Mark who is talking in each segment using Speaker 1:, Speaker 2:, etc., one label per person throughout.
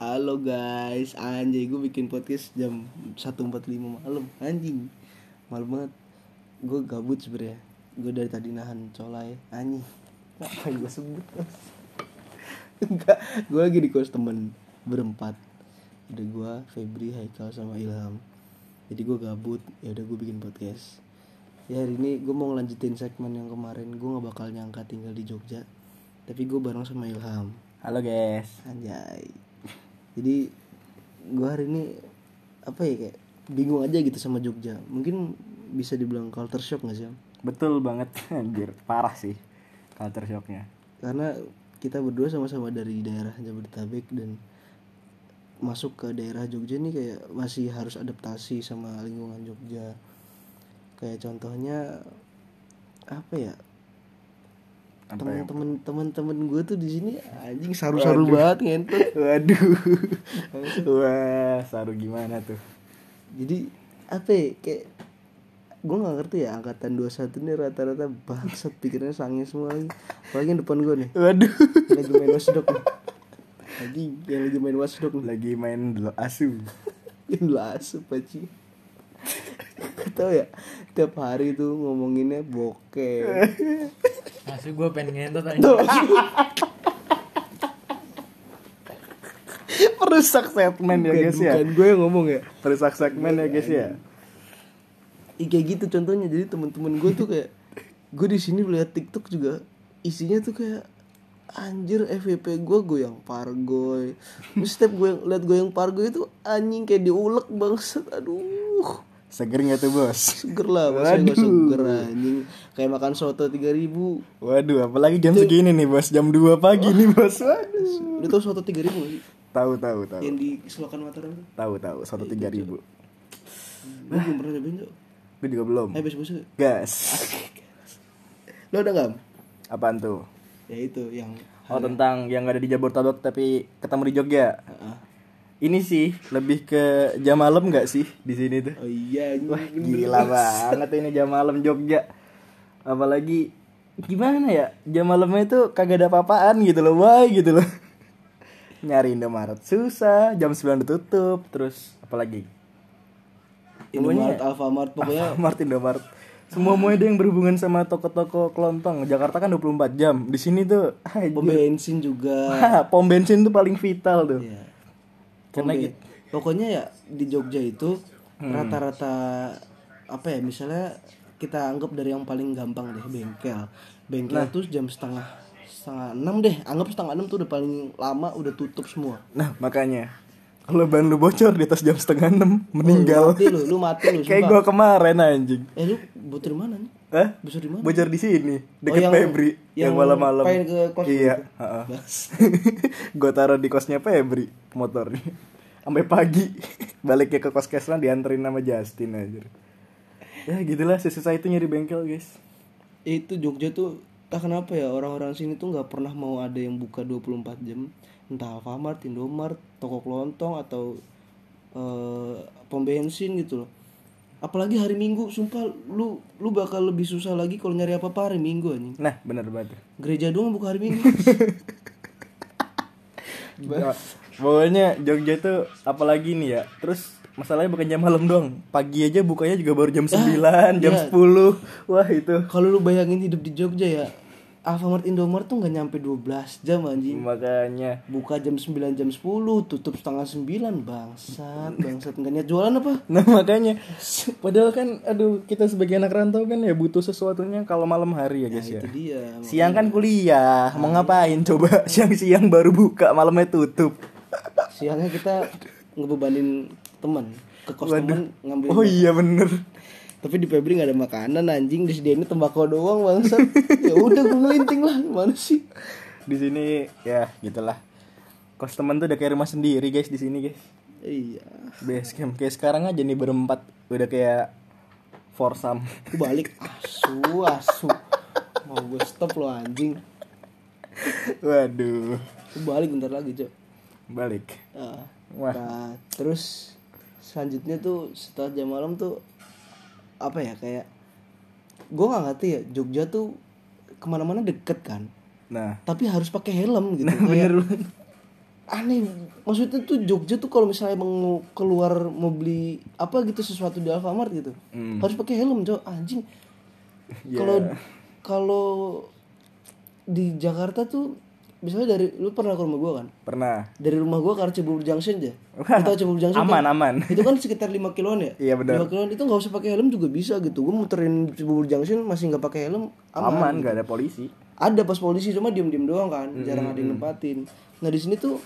Speaker 1: Halo guys, anjay gue bikin podcast jam 1.45 malam Anjing, malam banget Gue gabut sebenernya Gue dari tadi nahan colai Anjing, apa gue sebut Enggak, gue lagi di kos temen Berempat Ada gue, Febri, Haikal, sama Ilham Jadi gue gabut, ya udah gue bikin podcast Ya hari ini gue mau ngelanjutin segmen yang kemarin Gue gak bakal nyangka tinggal di Jogja Tapi gue bareng sama Ilham
Speaker 2: Halo guys.
Speaker 1: Anjay. Jadi gua hari ini apa ya kayak bingung aja gitu sama Jogja. Mungkin bisa dibilang culture shock gak sih? Om?
Speaker 2: Betul banget anjir, parah sih culture shocknya.
Speaker 1: Karena kita berdua sama-sama dari daerah Jabodetabek dan masuk ke daerah Jogja nih kayak masih harus adaptasi sama lingkungan Jogja. Kayak contohnya apa ya?
Speaker 2: Apa yang-
Speaker 1: temen-temen temen-temen gue tuh di sini anjing saru-saru banget ngentot
Speaker 2: Waduh. Wah, saru gimana tuh?
Speaker 1: jadi apa ya, kayak gue nggak ngerti ya angkatan 21 nih rata-rata bangsat pikirannya sange semua lagi apalagi yang depan gue nih
Speaker 2: Waduh.
Speaker 1: yang lagi main watchdog nih lagi yang lagi main watchdog nih
Speaker 2: Lagi main dulu asu.
Speaker 1: yang lah asup aja tau ya tiap hari tuh ngomonginnya bokeh
Speaker 3: Asli gue pengen ngentot aja
Speaker 2: Perusak segmen ya
Speaker 1: bukan,
Speaker 2: guys ya.
Speaker 1: bukan gue yang ngomong ya
Speaker 2: Perusak segmen ya guys ya.
Speaker 1: Ih, kayak gitu contohnya jadi teman-teman gue tuh kayak gue di sini melihat TikTok juga isinya tuh kayak anjir FVP gue goyang pargoy Terus setiap gue yang lihat goyang pargoy itu anjing kayak diulek bangset aduh
Speaker 2: Seger nggak tuh bos?
Speaker 1: seger lah maksudnya gue
Speaker 2: Waduh.
Speaker 1: seger anjing kayak makan soto 3000 ribu
Speaker 2: Waduh, apalagi jam segini nih bos, jam 2 pagi nih bos.
Speaker 1: lu
Speaker 2: Waduh.
Speaker 1: tau soto 3000 ribu sih
Speaker 2: Tahu tahu tahu.
Speaker 1: yang di selokan Mataram tuh?
Speaker 2: Tahu tahu, soto 3000.
Speaker 1: gue belum pernah nyobain tuh
Speaker 2: Gue juga belum.
Speaker 1: eh besok besok
Speaker 2: Gas.
Speaker 1: lo ada nggak
Speaker 2: Apaan tuh?
Speaker 1: ya itu yang
Speaker 2: Oh tentang yang gak ada di Jabodetabek tapi ketemu di Jogja. Ini sih lebih ke jam malam nggak sih di sini tuh?
Speaker 1: oh iya anjing.
Speaker 2: Wah gila banget ini jam malam Jogja. Apalagi gimana ya jam malamnya itu kagak ada apa-apaan gitu loh, wah gitu loh. Nyari Indomaret susah, jam 9 ditutup, terus apalagi?
Speaker 1: Indomaret, Alfamart pokoknya
Speaker 2: Martin Indomaret. Semua mau ada yang berhubungan sama toko-toko kelontong. Jakarta kan 24 jam. Di sini tuh anjir.
Speaker 1: pom bensin juga
Speaker 2: Hah, pom bensin tuh paling vital tuh.
Speaker 1: Iya.
Speaker 2: Karena
Speaker 1: Pom ben- pokoknya ya di Jogja itu rata-rata apa ya misalnya kita anggap dari yang paling gampang deh bengkel bengkel tuh jam setengah setengah enam deh anggap setengah enam tuh udah paling lama udah tutup semua
Speaker 2: Nah, makanya kalau ban lu bocor di atas jam setengah enam meninggal.
Speaker 1: mati lu lu mati lu Oh, iya,
Speaker 2: Kayak
Speaker 1: sumpah
Speaker 2: gua kemarin anjing.
Speaker 1: eh lu bocor di mana nih
Speaker 2: Hah?
Speaker 1: bocor di mana
Speaker 2: Bocor di sini, deket
Speaker 1: Oh, yang-
Speaker 2: Febri yang,
Speaker 1: yang
Speaker 2: malam-malam.
Speaker 1: pengen ke kos
Speaker 2: Iya,
Speaker 1: gitu.
Speaker 2: heeh.
Speaker 1: Bas.
Speaker 2: Gua taruh di kosnya Febri motornya. Sampai pagi baliknya ke kos Keslan dianterin sama Justin aja. Ya gitulah sesusah itu nyari bengkel, guys.
Speaker 1: itu Jogja tuh entah kenapa ya orang-orang sini tuh nggak pernah mau ada yang buka 24 jam entah Alfamart, Indomart, toko kelontong atau eh, pom bensin gitu loh. Apalagi hari Minggu, sumpah lu lu bakal lebih susah lagi kalau nyari apa-apa hari Minggu anjing.
Speaker 2: Nah, bener banget.
Speaker 1: Gereja doang buka hari Minggu.
Speaker 2: Ya, Pokoknya Jogja tuh apalagi nih ya. Terus masalahnya bukan jam malam doang. Pagi aja bukanya juga baru jam 9, jam 10. Wah, itu.
Speaker 1: kalau lu bayangin hidup di Jogja ya, Alfamart, Indomart tuh nggak nyampe 12 jam anjing.
Speaker 2: Makanya
Speaker 1: Buka jam 9 jam 10, tutup setengah 9 bangsat, bangsat nggak niat jualan apa?
Speaker 2: Nah makanya Padahal kan Aduh kita sebagai anak rantau kan ya Butuh sesuatunya Kalau malam hari ya guys ya
Speaker 1: Itu dia.
Speaker 2: Siang kan kuliah Mau ngapain coba Siang-siang baru buka Malamnya tutup
Speaker 1: siangnya kita ngebebanin teman ke kos teman ngambil
Speaker 2: Oh iya bener
Speaker 1: tapi di Febri nggak ada makanan anjing disediainnya tembakau doang bangsat ya udah gue ngelinting lah gimana sih
Speaker 2: Di sini Ya gitulah Kos teman tuh udah kayak rumah sendiri guys di sini guys
Speaker 1: iya
Speaker 2: Base camp kayak sekarang aja nih berempat udah kayak foursome.
Speaker 1: gue balik asu asu mau gue stop lo anjing
Speaker 2: Waduh,
Speaker 1: gue balik bentar lagi cok
Speaker 2: balik.
Speaker 1: nah,
Speaker 2: Wah.
Speaker 1: nah, terus selanjutnya tuh setelah jam malam tuh apa ya kayak gue nggak ngerti ya Jogja tuh kemana-mana deket kan
Speaker 2: Nah,
Speaker 1: tapi harus pakai helm gitu
Speaker 2: bener
Speaker 1: Kayak-
Speaker 2: banget.
Speaker 1: aneh maksudnya tuh Jogja tuh kalau misalnya emang mau keluar mau beli apa gitu sesuatu di Alfamart gitu
Speaker 2: Hmm.
Speaker 1: harus pakai helm cok anjing
Speaker 2: Ya.
Speaker 1: kalau kalau di Jakarta tuh misalnya dari lu pernah ke rumah gua kan
Speaker 2: Pernah.
Speaker 1: dari rumah gua ke arah Cibubur Junction aja atau Cibubur Junction
Speaker 2: Aman,
Speaker 1: kan?
Speaker 2: aman.
Speaker 1: itu kan sekitar 5 kiloan ya
Speaker 2: Iya, benar.
Speaker 1: 5 kiloan itu nggak usah pakai helm juga bisa gitu gua muterin Cibubur Junction masih nggak pakai helm aman,
Speaker 2: Aman, nggak ada polisi.
Speaker 1: ada pas polisi cuma diem-diem doang kan jarang ada yang nempatin nah di sini tuh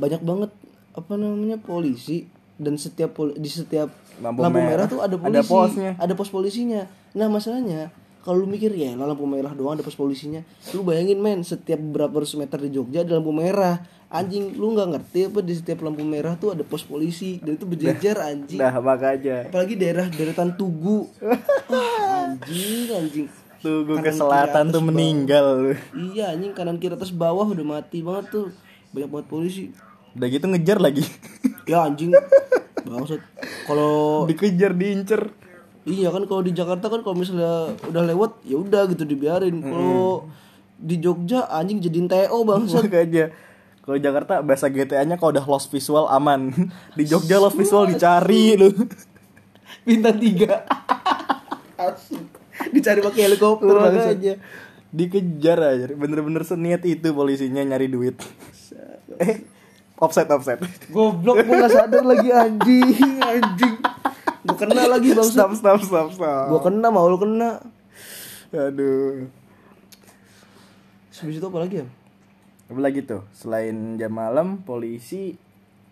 Speaker 1: banyak banget apa namanya polisi dan setiap pol- di setiap
Speaker 2: Lampu
Speaker 1: lampu,
Speaker 2: merah
Speaker 1: merah, tuh ada
Speaker 2: ada
Speaker 1: polisi
Speaker 2: posnya.
Speaker 1: ada pos polisinya nah masalahnya kalau lu mikir ya lah lampu merah doang ada pos polisinya lu bayangin men setiap berapa ratus meter di Jogja ada lampu merah anjing lu nggak ngerti apa di setiap lampu merah tuh ada pos polisi dan itu berjejer anjing
Speaker 2: Dah, makanya.
Speaker 1: apalagi daerah deretan Tugu Wah, anjing anjing
Speaker 2: Tugu
Speaker 1: Kanan
Speaker 2: ke
Speaker 1: kiri
Speaker 2: selatan
Speaker 1: atas
Speaker 2: tuh
Speaker 1: bawah.
Speaker 2: meninggal. lu.
Speaker 1: Iya anjing kanan kiri atas bawah udah mati banget tuh banyak banget polisi.
Speaker 2: Udah gitu ngejar lagi.
Speaker 1: Ya anjing bangsat. Kalau
Speaker 2: Dikejar, diincer.
Speaker 1: iya kan kalau di Jakarta kan kalau misalnya udah lewat ya udah gitu dibiarin. Kalau di Jogja anjing jadiin TO bangsat.
Speaker 2: Makanya. Kalau Jakarta bahasa GTA-nya kalau udah lost visual aman. Di Jogja lost visual dicari lu.
Speaker 1: Bintang tiga. Asik. Dicari pakai helikopter bangsat.
Speaker 2: Makanya. Dikejar aja. Bener-bener seniat itu polisinya nyari duit. Eh, offset offset.
Speaker 1: Goblok gua gak sadar lagi anjing anjing. Gua kena lagi bangsat.
Speaker 2: Stop stop stop stop.
Speaker 1: Gua kena mau lu kena.
Speaker 2: Aduh.
Speaker 1: Habis itu apa lagi ya?
Speaker 2: Apa lagi tuh? Selain jam malam, polisi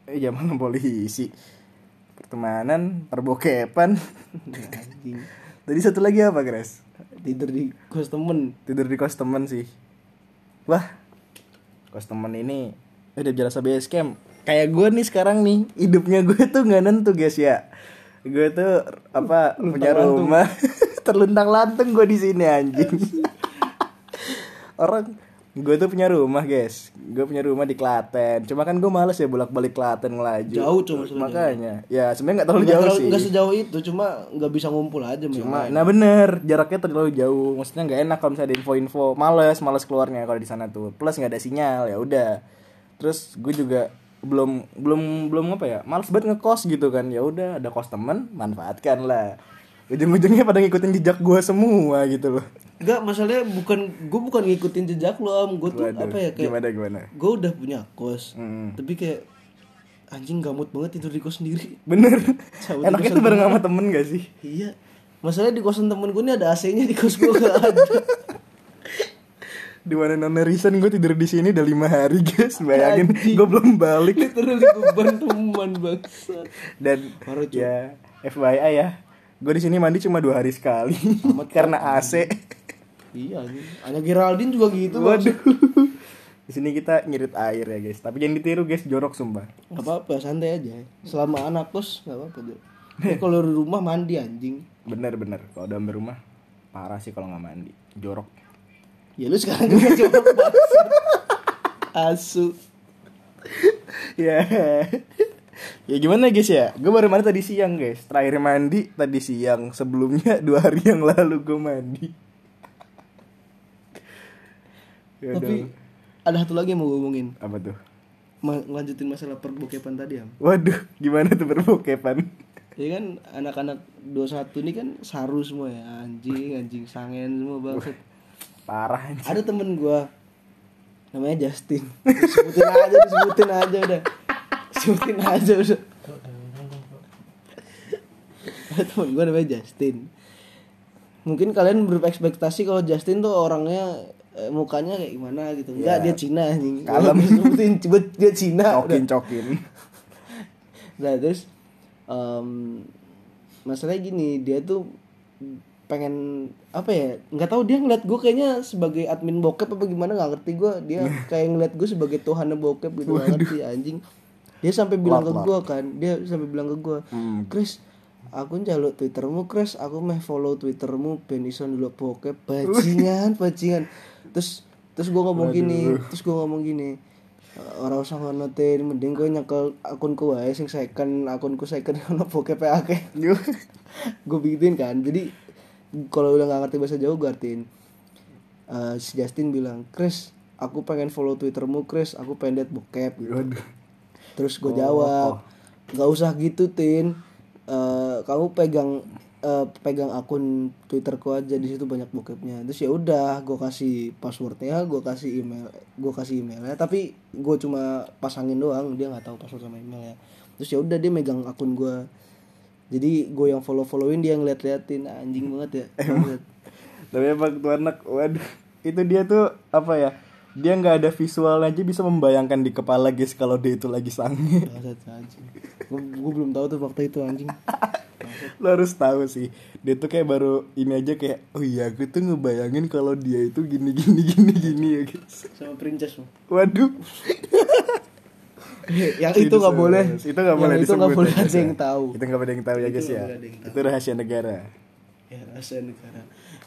Speaker 2: eh jam malam polisi. Pertemanan, perbokepan.
Speaker 1: Anjing.
Speaker 2: Tadi satu lagi apa, Grace?
Speaker 1: tidur di kos temen
Speaker 2: Tidur di kos temen sih. Wah. Eh, Kos temen ini udah berasa base camp. Kayak gue nih sekarang nih, hidupnya gue tuh nggak nentu guys ya. Gue tuh apa punya rumah terlentang lantung gue di sini anjing. orang gue tuh punya rumah guys gue punya rumah di Klaten cuma kan gue males ya bolak balik Klaten ngelaju
Speaker 1: Jauh tuh maksudnya.
Speaker 2: makanya ya sebenarnya nggak terlalu
Speaker 1: nggak
Speaker 2: jauh
Speaker 1: terlalu-
Speaker 2: sih
Speaker 1: nggak sejauh itu cuma nggak bisa ngumpul aja men.
Speaker 2: cuma nah bener jaraknya terlalu jauh maksudnya nggak enak kalau misalnya ada info-info males males keluarnya kalau di sana tuh plus nggak ada sinyal ya udah terus gue juga belum belum belum apa ya males banget ngekos gitu kan ya udah ada kos temen manfaatkan lah ujung-ujungnya pada ngikutin jejak gue semua gitu loh
Speaker 1: nggak masalahnya bukan gue bukan ngikutin jejak lo om gue tuh
Speaker 2: Waduh,
Speaker 1: apa ya kayak
Speaker 2: gimana gimana
Speaker 1: gue udah punya kos
Speaker 2: Mm.
Speaker 1: tapi kayak anjing gamut banget tidur di kos sendiri
Speaker 2: Bener.
Speaker 1: Cabut
Speaker 2: Enaknya tuh bareng sama temen gak sih?
Speaker 1: iya masalahnya di kosan temen gue ini ada AC-nya di kos gue nggak ada
Speaker 2: Di mana nona Risan gue tidur di sini udah lima hari guys Bayangin gue belum balik
Speaker 1: terus di beban teman bangsa
Speaker 2: Dan
Speaker 1: Baru, cuy.
Speaker 2: ya FYI ya Gue di sini mandi cuma dua hari sekali Karena AC
Speaker 1: iya anjing anak Geraldine juga gitu bang
Speaker 2: Waduh di sini kita ngirit air ya guys Tapi jangan ditiru guys jorok sumpah
Speaker 1: nggak apa-apa santai aja selama anak kos nggak apa-apa tuh Tapi kalau di rumah mandi anjing
Speaker 2: Bener bener Kalau udah sampai rumah Parah sih kalau nggak mandi Jorok
Speaker 1: Ya lu sekarang juga jorok banget. Asu.
Speaker 2: Ya Ya gimana guys ya Gue baru mandi tadi siang guys Terakhir mandi tadi siang Sebelumnya dua hari yang lalu gue mandi Ya
Speaker 1: Tapi
Speaker 2: dong.
Speaker 1: ada satu lagi yang mau gue ngomongin.
Speaker 2: Apa tuh?
Speaker 1: Ma- ngelanjutin masalah perbokepan tadi ya.
Speaker 2: Waduh gimana tuh berbokepan
Speaker 1: Ya kan anak-anak 21 ini kan saru semua ya, anjing, anjing sangen semua banget.
Speaker 2: Parah anjir
Speaker 1: Ada temen gua namanya Justin. Sebutin aja, disebutin aja udah. Sebutin aja udah. Ada temen gua namanya Justin. Mungkin kalian berekspektasi kalau Justin tuh orangnya eh, mukanya kayak gimana gitu. Enggak,
Speaker 2: Iya.
Speaker 1: dia Cina anjing.
Speaker 2: Kalem.
Speaker 1: Gua sebutin gue- dia Cina. udah.
Speaker 2: Cokin cokin
Speaker 1: Nah, terus em, masalahnya gini, dia tuh pengen apa ya nggak tahu dia ngeliat gue kayaknya sebagai admin bokep apa gimana nggak ngerti gue dia kayak ngeliat gue sebagai tuhannya bokep gitu nggak ngerti anjing dia sampai bilang ke gue kan dia sampai bilang ke gue Chris aku njaluk twittermu Chris aku meh follow twittermu ben iso ndelok bokep bajingan bajingan terus terus gue ngomong gini terus gue ngomong gini orang usah ngono teh mending gue nyekel akunku wae sing second akunku second ono bokep akeh gue begituin kan jadi kalau udah nggak ngerti bahasa Jawa gue artiin Eh, si Justin bilang Chris aku pengen follow twittermu Chris aku pengen liat bokep gitu.
Speaker 2: Waduh.
Speaker 1: terus gue jawab nggak usah gitu tin Eh, kamu pegang eh, pegang akun twitterku aja di situ banyak bokepnya terus ya udah gue kasih passwordnya gue kasih email gue kasih emailnya tapi gue cuma pasangin doang dia nggak tahu password sama emailnya terus ya udah dia megang akun gue jadi gue yang follow followin dia ngeliat liatin anjing banget ya Banget.
Speaker 2: Tapi emang tuh anak, waduh, itu dia tuh apa ya? Dia nggak ada visualnya aja bisa membayangkan di kepala guys kalau dia itu lagi sange.
Speaker 1: Bangsat, anjing gue belum tahu tuh fakta itu anjing
Speaker 2: Lo harus tahu sih. Dia tuh kayak baru ini aja kayak, oh iya aku tuh ngebayangin kalau dia itu gini gini gini gini ya guys.
Speaker 1: sama princess Bang.
Speaker 2: Waduh.
Speaker 1: yang itu nggak boleh
Speaker 2: Itu nggak boleh
Speaker 1: yang itu
Speaker 2: disebut.
Speaker 1: nggak boleh
Speaker 2: ya, guys,
Speaker 1: ada
Speaker 2: ya.
Speaker 1: yang tahu
Speaker 2: Itu nggak boleh yang tahu ya
Speaker 1: Itu
Speaker 2: guys ya.
Speaker 1: nggak ada yang tahu.
Speaker 2: Itu rahasia negara.
Speaker 1: ya rahasia negara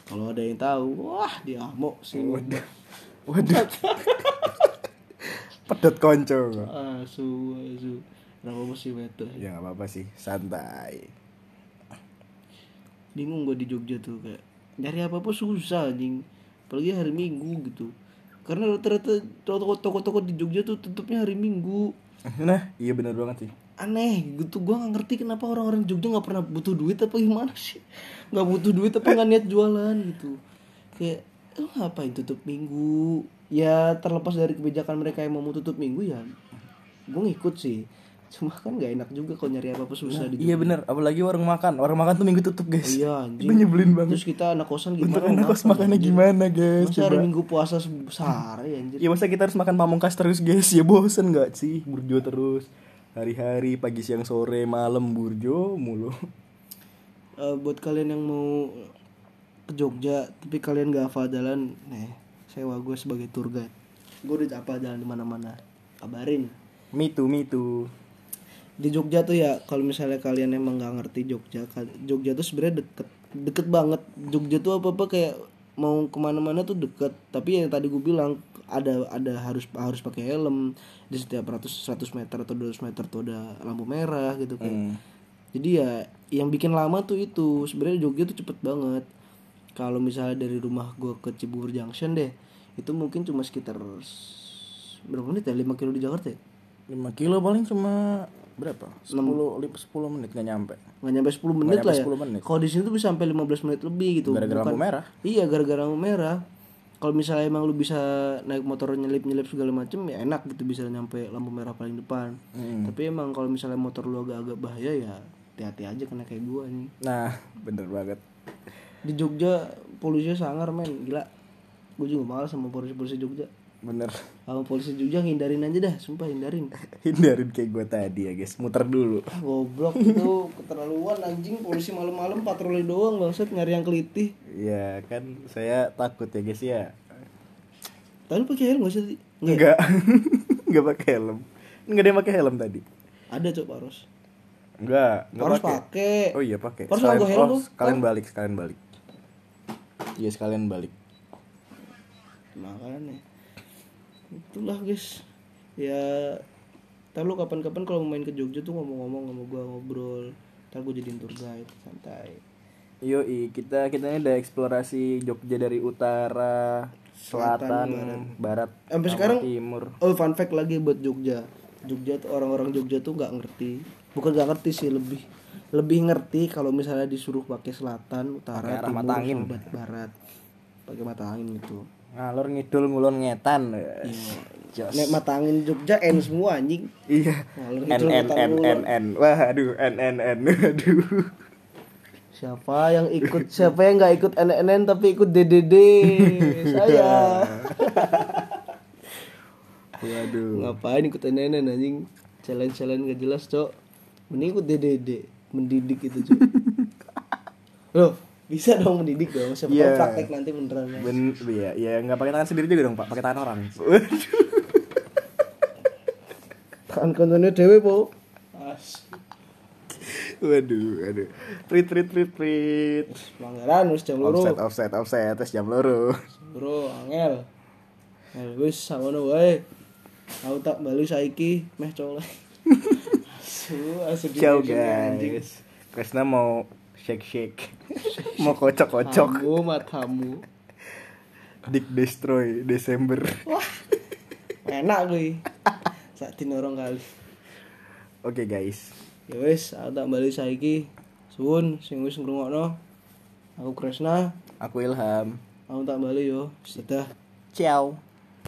Speaker 1: kalau ada yang tahu wah dia amok sih
Speaker 2: Waduh. Pedot konco.
Speaker 1: asu asu Ah, kenapa masih bete
Speaker 2: Ya nggak apa-apa sih, santai.
Speaker 1: bingung gue di Jogja tuh kayak nyari apa apa susah anjing apalagi hari Minggu gitu karena rata-rata toko- toko-toko di Jogja tuh tutupnya hari Minggu
Speaker 2: Nah, iya benar banget sih.
Speaker 1: aneh gitu gua nggak ngerti kenapa orang-orang Jogja nggak pernah butuh duit apa gimana sih nggak butuh duit apa nggak niat jualan gitu kayak lu ngapain tutup minggu ya terlepas dari kebijakan mereka yang mau tutup minggu ya gue ngikut sih cuma kan nggak enak juga kalau nyari apa apa susah di
Speaker 2: Iya benar, apalagi warung makan. Warung makan tuh minggu tutup, guys.
Speaker 1: Iya, anjing.
Speaker 2: Itu nyebelin banget.
Speaker 1: terus kita anak kosan
Speaker 2: Untuk
Speaker 1: gimana
Speaker 2: anak kos makannya gimana, guys?
Speaker 1: masa hari
Speaker 2: Coba.
Speaker 1: minggu puasa se- sehari anjir
Speaker 2: Ya masa kita harus makan pamungkas terus, guys? Ya bosen nggak sih burjo terus? Hari-hari, pagi, siang, sore, malam burjo mulu.
Speaker 1: Eh, buat kalian yang mau ke Jogja tapi kalian gak hafal jalan nih sewa gue sebagai tour guide gue udah hafal jalan di mana mana kabarin
Speaker 2: Me too, me too.
Speaker 1: di Jogja tuh ya kalau misalnya kalian emang gak ngerti Jogja kal- Jogja tuh sebenarnya deket deket banget Jogja tuh apa apa kayak mau kemana-mana tuh deket tapi yang tadi gue bilang ada ada harus harus pakai helm di setiap 100 100 meter atau 200 meter tuh ada lampu merah gitu kayak jadi ya yang bikin lama tuh itu sebenarnya Jogja tuh cepet banget kalau misalnya dari rumah gue ke Cibubur Junction deh itu mungkin cuma sekitar s- berapa menit ya 5 kilo di Jakarta ya?
Speaker 2: 5 kilo paling cuma berapa? 10 lip- 10 menit nggak nyampe.
Speaker 1: nggak nyampe 10 menit
Speaker 2: nyampe
Speaker 1: lah ya.
Speaker 2: 10 menit.
Speaker 1: Kalau di sini tuh bisa sampai 15 menit lebih gitu.
Speaker 2: Gara-gara
Speaker 1: Bukan-
Speaker 2: lampu merah.
Speaker 1: Iya, gara-gara lampu merah. Kalau misalnya emang lu bisa naik motor nyelip-nyelip segala macem ya enak gitu bisa nyampe lampu merah paling depan.
Speaker 2: Hmm.
Speaker 1: Tapi emang kalau misalnya motor lu agak-agak bahaya ya hati-hati aja kena kayak gua nih.
Speaker 2: Nah, bener banget.
Speaker 1: Di Jogja polisinya sangar men, gila. Gue juga males sama polisi-polisi Jogja.
Speaker 2: Bener.
Speaker 1: Sama polisi Jogja hindarin aja dah, sumpah hindarin.
Speaker 2: Hindarin kayak gue tadi ya, guys. Muter dulu.
Speaker 1: Ah, Goblok itu keterlaluan anjing polisi malam-malam patroli doang bangsat nyari yang kelitih.
Speaker 2: Ya kan saya takut ya guys ya.
Speaker 1: Tapi lu pakai helm gak sih? tadi? Nggak ya?
Speaker 2: Enggak. Enggak pakai helm. Enggak ada yang pakai helm tadi.
Speaker 1: Ada cok Paros.
Speaker 2: Enggak, enggak
Speaker 1: Paros pakai.
Speaker 2: Oh iya pakai.
Speaker 1: Paros
Speaker 2: Sekalian-
Speaker 1: nggak helm Kan?
Speaker 2: oh,
Speaker 1: lu?
Speaker 2: sekalian balik, sekalian balik. Iya, sekalian balik.
Speaker 1: Makanya. Itulah guys. Ya Ntar lu kapan-kapan kalau mau main ke Jogja tuh ngomong-ngomong sama gua ngobrol. Ntar gua jadiin tour guide santai.
Speaker 2: Yoi, kita kita ini udah eksplorasi Jogja dari utara, selatan, barat,
Speaker 1: Sampai
Speaker 2: sama
Speaker 1: sekarang-
Speaker 2: timur.
Speaker 1: Oh fun fact lagi buat Jogja. Jogja tuh orang-orang Jogja tuh nggak ngerti. Bukan nggak ngerti sih lebih lebih ngerti kalau misalnya disuruh pakai selatan, utara,
Speaker 2: Pakai arah
Speaker 1: timur,
Speaker 2: mata angin.
Speaker 1: sama bat- barat. Pakai mata angin gitu.
Speaker 2: Ngalor ngidul ngulon ngetan.
Speaker 1: Iya.
Speaker 2: Jos.
Speaker 1: Nek mata angin Jogja N semua anjing.
Speaker 2: Iya.
Speaker 1: Ngalor
Speaker 2: N
Speaker 1: ngidul
Speaker 2: N
Speaker 1: ngetan
Speaker 2: N N
Speaker 1: ngulon.
Speaker 2: N. Wah, aduh, N N N. Aduh.
Speaker 1: Siapa yang ikut siapa yang nggak ikut NNN tapi ikut DDD saya
Speaker 2: Waduh.
Speaker 1: ngapain ikut NNN anjing challenge challenge gak jelas cok mending ikut DDD mendidik itu cok loh bisa dong mendidik dong siapa
Speaker 2: Iya.
Speaker 1: tahu praktek nanti beneran ya.
Speaker 2: Ben, ya, ya nggak pakai tangan sendiri juga dong pak, pakai tangan orang.
Speaker 1: kan kontennya dewe po
Speaker 2: Waduh, aduh. Retreat, retreat, retreat.
Speaker 1: pelanggaran harus jam loro
Speaker 2: Offset, offset, offset, tes jam loro.
Speaker 1: bro angel angel wis sawono wae aku tak balik saiki meh colek asu asu
Speaker 2: Ciao
Speaker 1: dididik, anjing.
Speaker 2: guys. Kresna mau shake shake, mau kocok kocok.
Speaker 1: Kamu matamu
Speaker 2: Dick Destroy Desember.
Speaker 1: Wah, enak gue. Saat orang kali.
Speaker 2: Oke guys.
Speaker 1: Ya wes, ada balik saiki. Suun, sing wis ngrungokno. Aku Kresna,
Speaker 2: Aku Ilham.
Speaker 1: aku tak balik yo. Sedah.
Speaker 2: Ciao.